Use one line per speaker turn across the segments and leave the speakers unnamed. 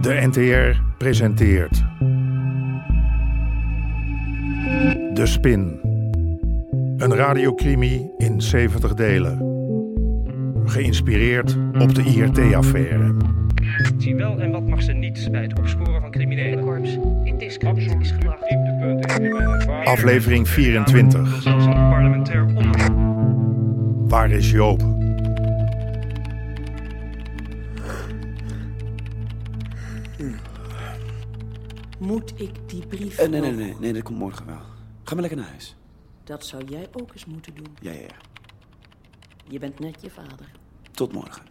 De NTR presenteert. De Spin. Een radiocrimi in 70 delen. Geïnspireerd op de IRT-affaire.
Wat Zie wel en wat mag ze niet bij het opsporen van criminelen.
Corps in discrediet is gebracht.
Aflevering 24.
Zelfs een parlementair onderzoek.
Waar is Joop?
Moet ik die brief
Eh, nee, nee,
nog-
nee, nee, dat komt morgen wel. Ga maar lekker naar huis.
Dat zou jij ook eens moeten doen.
Ja, ja, ja.
Je bent net je vader.
Tot morgen.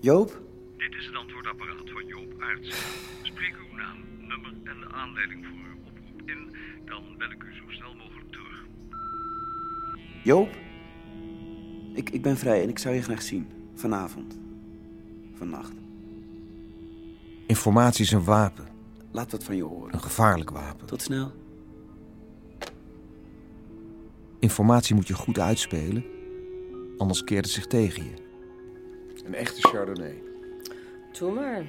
Joop?
Dit is het antwoordapparaat van Joop Aertsen. Spreek uw naam, nummer en de aanleiding voor uw oproep in. Dan bel ik u zo snel mogelijk terug.
Joop? Ik, ik ben vrij en ik zou je graag zien. Vanavond. Vannacht.
Informatie is een wapen,
Laat wat van je horen.
een gevaarlijk wapen.
Tot snel.
Informatie moet je goed uitspelen, anders keert het zich tegen je. Een echte Chardonnay.
Doe maar.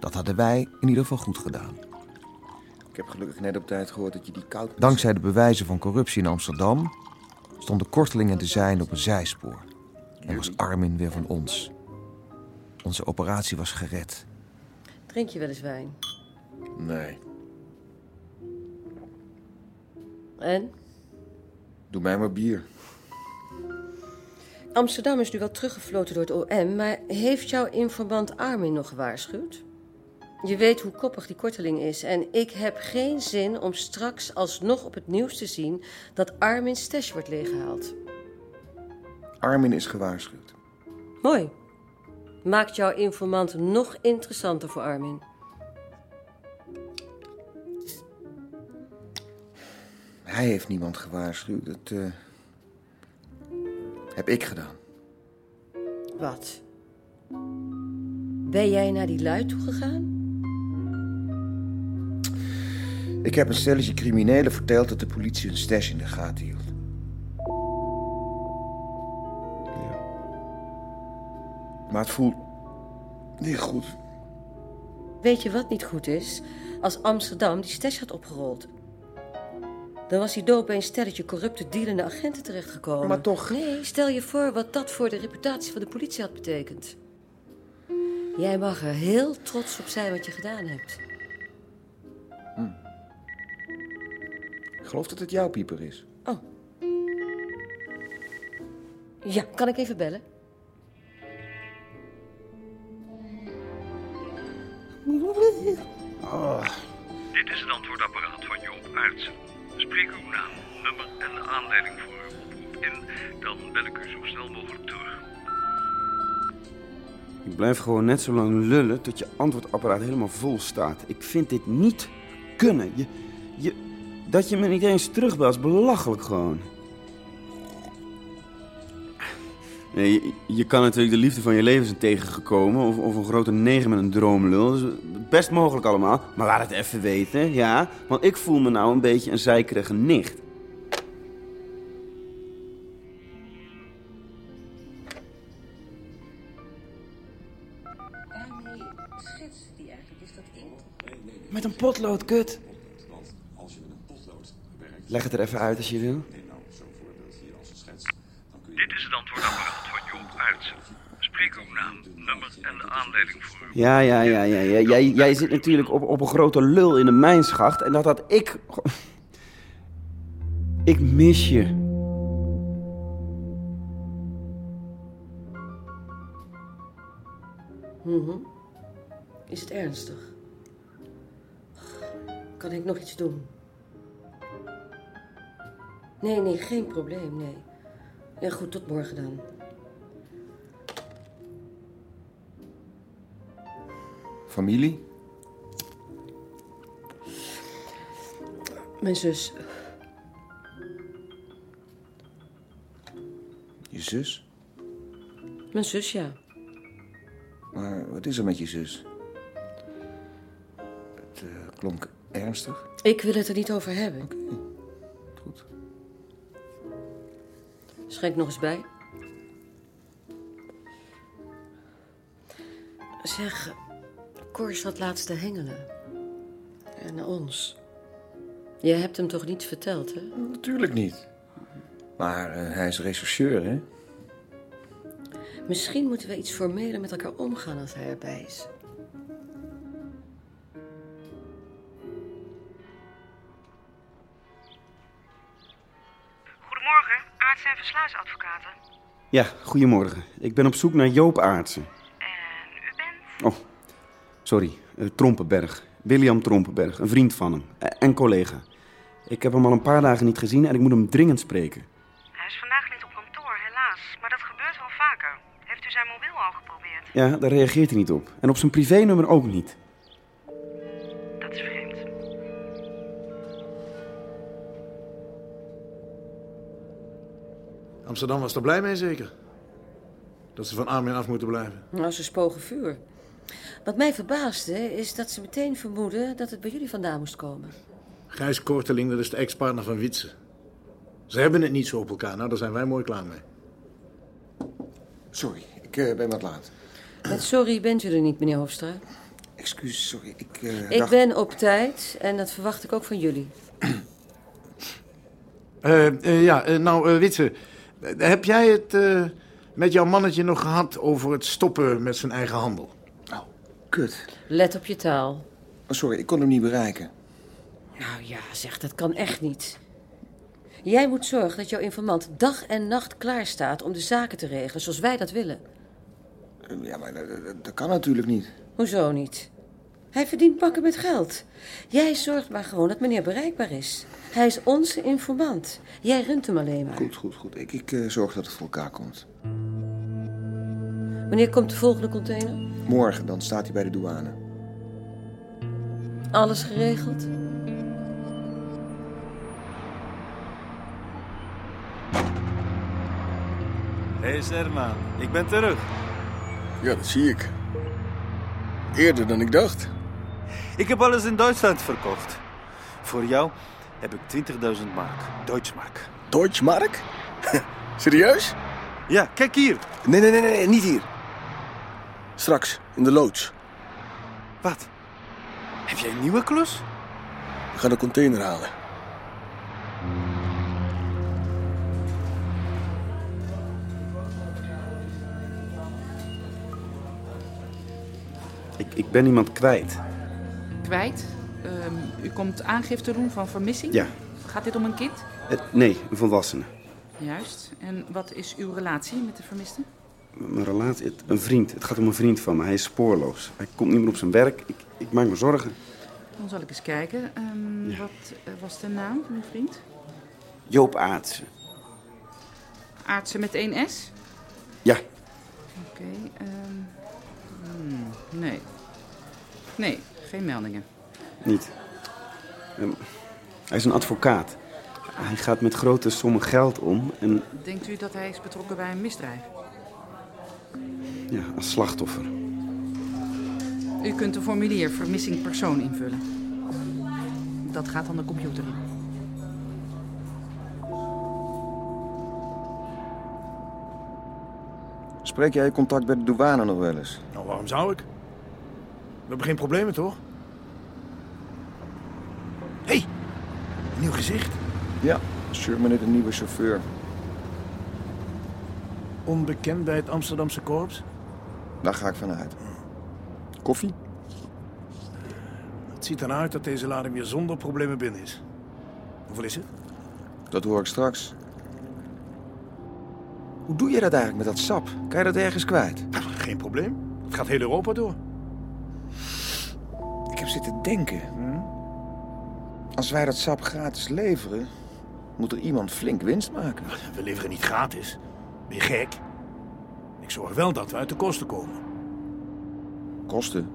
Dat hadden wij in ieder geval goed gedaan.
Ik heb gelukkig net op tijd gehoord dat je die koud...
Dankzij de bewijzen van corruptie in Amsterdam stonden kortelingen te zijn op een zijspoor. En was Armin weer van ons. Onze operatie was gered.
Drink je wel eens wijn?
Nee.
En?
Doe mij maar bier.
Amsterdam is nu wel teruggefloten door het OM, maar heeft jouw informant Armin nog gewaarschuwd? Je weet hoe koppig die korteling is en ik heb geen zin om straks alsnog op het nieuws te zien dat Armin's stash wordt leeggehaald.
Armin is gewaarschuwd.
Mooi. Maakt jouw informant nog interessanter voor Armin.
Hij heeft niemand gewaarschuwd. Dat
eh,
heb ik gedaan.
Wat? Ben jij naar die lui toegegaan?
Ik heb een stelletje criminelen verteld dat de politie hun stash in de gaten hield. Ja. Maar het voelt niet goed.
Weet je wat niet goed is? Als Amsterdam die stash had opgerold. Dan was hij dood bij een stelletje corrupte dealende agenten terechtgekomen.
Maar toch-
Nee, stel je voor wat dat voor de reputatie van de politie had betekend. Jij mag er heel trots op zijn wat je gedaan hebt.
Ik geloof dat het jouw pieper is.
Oh. Ja, kan ik even bellen?
Oh.
Dit is het antwoordapparaat van Joop Aertsen. Spreek uw naam, nummer en de aanleiding voor uw oproep in. Dan bel ik u zo snel mogelijk terug.
Ik blijf gewoon net zo lang lullen tot je antwoordapparaat helemaal vol staat. Ik vind dit niet kunnen. Je, je, dat je me niet eens terugbelt is belachelijk gewoon. Nee, je, je kan natuurlijk de liefde van je leven zijn tegengekomen. Of, of een grote negen met een droomlul. Dus best mogelijk allemaal. Maar laat het even weten, ja. Want ik voel me nou een beetje een zeikerige nicht. Met een potlood, kut. Leg het er even uit als je wil.
Dit is het antwoordapparaat van Joop Aertsen. Spreek uw naam, nummer en de aanleiding voor uw
Ja, ja, ja, ja. ja. Jij, jij zit natuurlijk op, op een grote lul in de mijnschacht. En dat had ik. Ik mis je.
Is het ernstig? Kan ik nog iets doen? Nee, nee, geen probleem, nee. Ja, goed, tot morgen dan.
Familie?
Mijn zus,
Je zus?
mijn zus, ja.
Maar wat is er met je zus? Het eh, klonk ernstig.
Ik wil het er niet over hebben.
Goed.
Schenk nog eens bij. Zeg, Cor zat laatst te hengelen. En naar ons. Jij hebt hem toch niets verteld, hè?
Natuurlijk niet. Maar eh, hij is rechercheur, hè?
Misschien moeten we iets formeler met elkaar omgaan als hij erbij is.
Goedemorgen, aarts- en versluisadvocaten.
Ja, goedemorgen. Ik ben op zoek naar Joop Aartsen.
En u bent?
Oh, sorry. eh, Trompenberg. William Trompenberg, een vriend van hem. eh, en collega. Ik heb hem al een paar dagen niet gezien en ik moet hem dringend spreken.
Hij is vandaag niet op kantoor, helaas. Maar dat gebeurt wel vaker. Heeft u zijn mobiel al geprobeerd?
Ja, daar reageert hij niet op. En op zijn privénummer ook niet.
Dat is vreemd.
Amsterdam was er blij mee zeker. Dat ze van Armin af moeten blijven.
Nou, ze spogen vuur. Wat mij verbaasde is dat ze meteen vermoeden dat het bij jullie vandaan moest komen.
Gijs Korteling, dat is de ex-partner van Wietse. Ze hebben het niet zo op elkaar. Nou, daar zijn wij mooi klaar mee.
Sorry, ik eh, ben wat laat.
Met sorry bent u er niet, meneer Hofstra.
Excuus, sorry. Ik, eh,
Ik
dacht-
ben op tijd en dat verwacht ik ook van jullie.
Eh, eh, ja, eh, nou, eh, Wietse. eh, heb jij het eh, met jouw mannetje nog gehad over het stoppen met zijn eigen handel?
Oh, kut.
Let op je taal.
Oh, sorry, ik kon hem niet bereiken.
Nou ja, zeg, dat kan echt niet. Jij moet zorgen dat jouw informant dag en nacht klaar staat om de zaken te regelen zoals wij dat willen.
Eh, Ja, maar dat, dat- dat kan natuurlijk niet.
Hoezo niet? Hij verdient pakken met geld. Jij zorgt maar gewoon dat meneer bereikbaar is. Hij is onze informant. Jij runt hem alleen maar.
Goed, goed, goed. Ik, ik eh, zorg dat het voor elkaar komt.
Wanneer komt de volgende container?
Morgen, dan staat hij bij de douane.
Alles geregeld?
Hé hey Serma, ik ben terug.
Ja, dat zie ik. Eerder dan ik dacht.
Ik heb alles in Duitsland verkocht. Voor jou heb ik 20.000 mark, Deutschmark.
Deutschmark? Serieus?
Ja, kijk hier.
Nee, nee, nee, nee, niet hier. Straks, in de loods.
Wat? Heb jij een nieuwe klus?
We gaan de container halen.
Ik, ik ben iemand kwijt.
Kwijt. Ehm, u komt aangifte doen van vermissing?
Ja.
Gaat dit om een kind?
Eh, nee, een volwassene.
Juist. En wat is uw relatie met de vermiste?
Mijn relatie, het- een vriend. Het gaat om een vriend van me. Hij is spoorloos. Hij komt niet meer op zijn werk. Ik, ik maak me zorgen.
Dan zal ik eens kijken. Ehm, Wat eh, was de naam van uw vriend?
Joop Aartsen.
Aartsen met 1 S?
Ja,
Oké. ehm, hmm, nee. Nee, geen meldingen.
niet. Ehm, hij is een advocaat. Hij gaat met grote sommen geld om. En
Denkt u dat hij is betrokken bij een misdrijf?
ja, als slachtoffer.
U kunt een formulier vermissing persoon invullen. Dat gaat dan de computer in.
Spreek jij je contact bij de douane nog wel eens?
Nou, waarom zou ik? We hebben geen problemen, toch? Hé, hey, een nieuw gezicht.
Ja, Sherman heeft een nieuwe chauffeur.
Onbekend bij het Amsterdamse korps.
Daar ga ik vanuit. Koffie?
Het ziet eruit dat deze lading weer zonder problemen binnen is. Hoeveel is het?
Dat hoor ik straks. Hoe doe je dat eigenlijk met dat sap? Kan je dat ergens kwijt?
Nou, Geen probleem. Het gaat heel Europa door.
Ik heb zitten denken. Hm? Als wij dat sap gratis leveren, moet er iemand flink winst maken.
We leveren niet gratis. Ben je gek? Ik zorg wel dat we uit de kosten komen.
Kosten?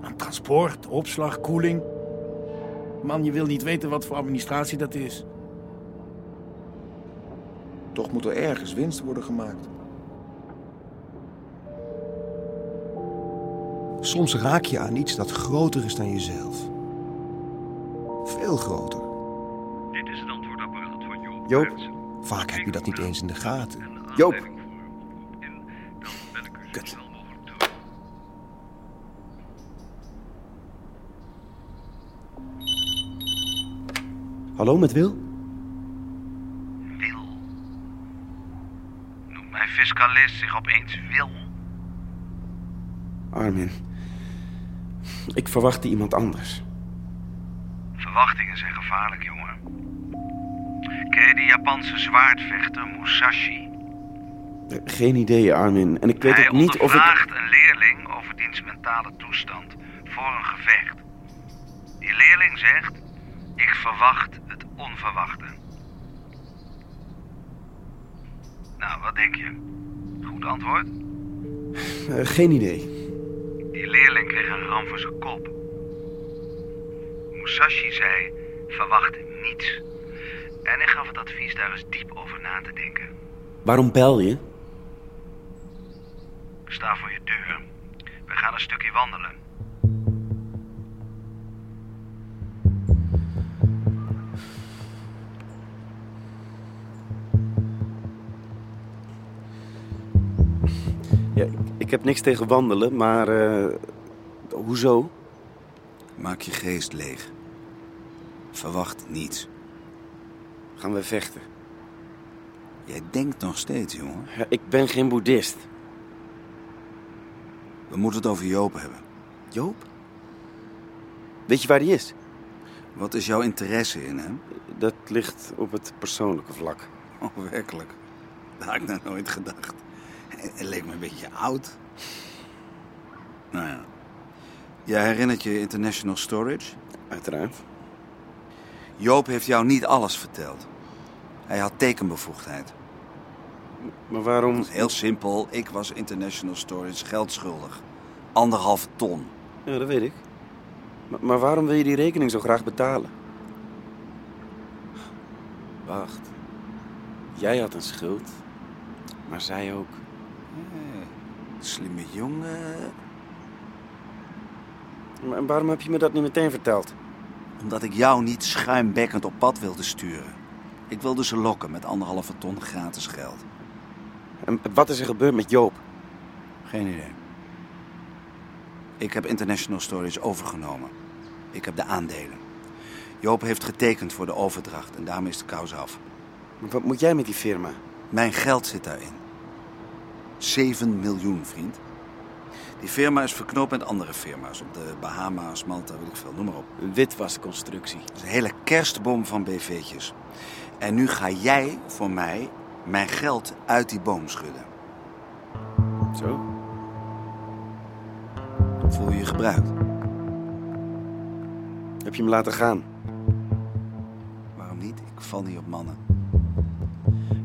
Aan transport, opslag, koeling. Man, je wil niet weten wat voor administratie dat is.
Toch moet er ergens winst worden gemaakt.
Soms raak je aan iets dat groter is dan jezelf. Veel groter.
Dit is het antwoordapparaat van Joop.
Joop, vaak heb je dat niet eens in de gaten.
Joop.
Kut.
Hallo, met Wil?
Wil. Noemt mijn fiscalist zich opeens Wil?
Armin. Ik verwachtte iemand anders.
Verwachtingen zijn gevaarlijk, jongen. Ken je die Japanse zwaardvechter Musashi?
Eh, Geen idee, Armin. En ik weet
Hij
ook niet of ik...
ondervraagt een leerling over diens mentale toestand voor een gevecht. Die leerling zegt, ik verwacht het onverwachte. Nou, wat denk je? Goed antwoord?
Eh, Geen idee.
Die leerling kreeg een ram voor zijn kop. Musashi zei, verwacht niets. En ik gaf het advies daar eens diep over na te denken.
Waarom bel je?
Sta voor je deur. We gaan een stukje wandelen.
Ja, ik, ik heb niks tegen wandelen, maar... eh, hoezo?
Maak je geest leeg. Verwacht niets.
Gaan we vechten?
Jij denkt nog steeds, jongen.
Ja, ik ben geen boeddhist.
We moeten het over Joop hebben.
Joop? Weet je waar hij is?
Wat is jouw interesse in hem?
Dat ligt op het persoonlijke vlak.
Oh, werkelijk. Dat had ik nog nooit gedacht. Het leek me een beetje oud. Nou ja. Jij herinnert je International Storage?
Uiteraard.
Joop heeft jou niet alles verteld. Hij had tekenbevoegdheid.
Maar waarom?
heel simpel. Ik was International Storage geld schuldig. Anderhalf ton.
Ja, dat weet ik. Maar, maar waarom wil je die rekening zo graag betalen? Wacht. Jij had een schuld, maar zij ook.
Eh, Slimme jongen.
Maar en waarom heb je me dat niet meteen verteld?
Omdat ik jou niet schuimbekkend op pad wilde sturen. Ik wilde ze lokken met anderhalve ton gratis geld.
En wat is er gebeurd met Joop?
Geen idee. Ik heb International Storage overgenomen. Ik heb de aandelen. Joop heeft getekend voor de overdracht en daarmee is de kous af.
Maar wat moet jij met die firma?
Mijn geld zit daarin. 7 miljoen, vriend. Die firma is verknoopt met andere firma's. Op de Bahama's, Malta, weet ik veel, noem maar op.
Een witwasconstructie.
Dat is een hele kerstboom van BV'tjes. En nu ga jij voor mij mijn geld uit die boom schudden.
Zo?
Voel je je gebruikt?
Heb je hem laten gaan?
Waarom niet? Ik val niet op mannen.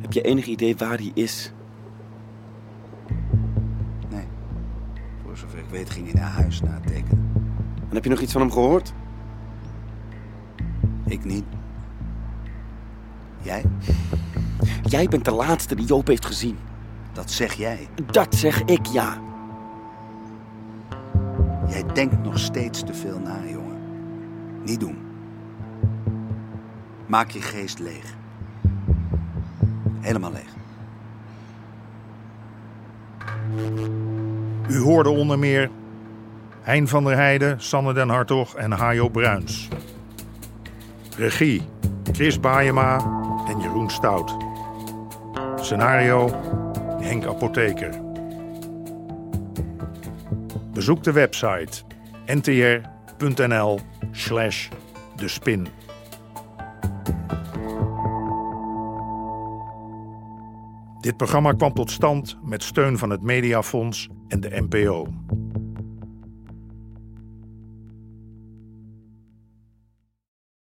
Heb je enig idee waar hij is?
Voor zover ik weet ging hij naar huis na het tekenen.
En heb je nog iets van hem gehoord?
Ik niet. Jij?
Jij bent de laatste die Joop heeft gezien.
Dat zeg jij.
Dat zeg ik ja.
Jij denkt nog steeds te veel na, jongen. Niet doen. Maak je geest leeg. Helemaal leeg.
U hoorde onder meer Hein van der Heijden, Sanne den Hartog en Hajo Bruins. Regie Chris Baayema en Jeroen Stout. Scenario Henk Apotheker. Bezoek de website ntr.nl slash de spin. Dit programma kwam tot stand met steun van het Mediafonds en de NPO.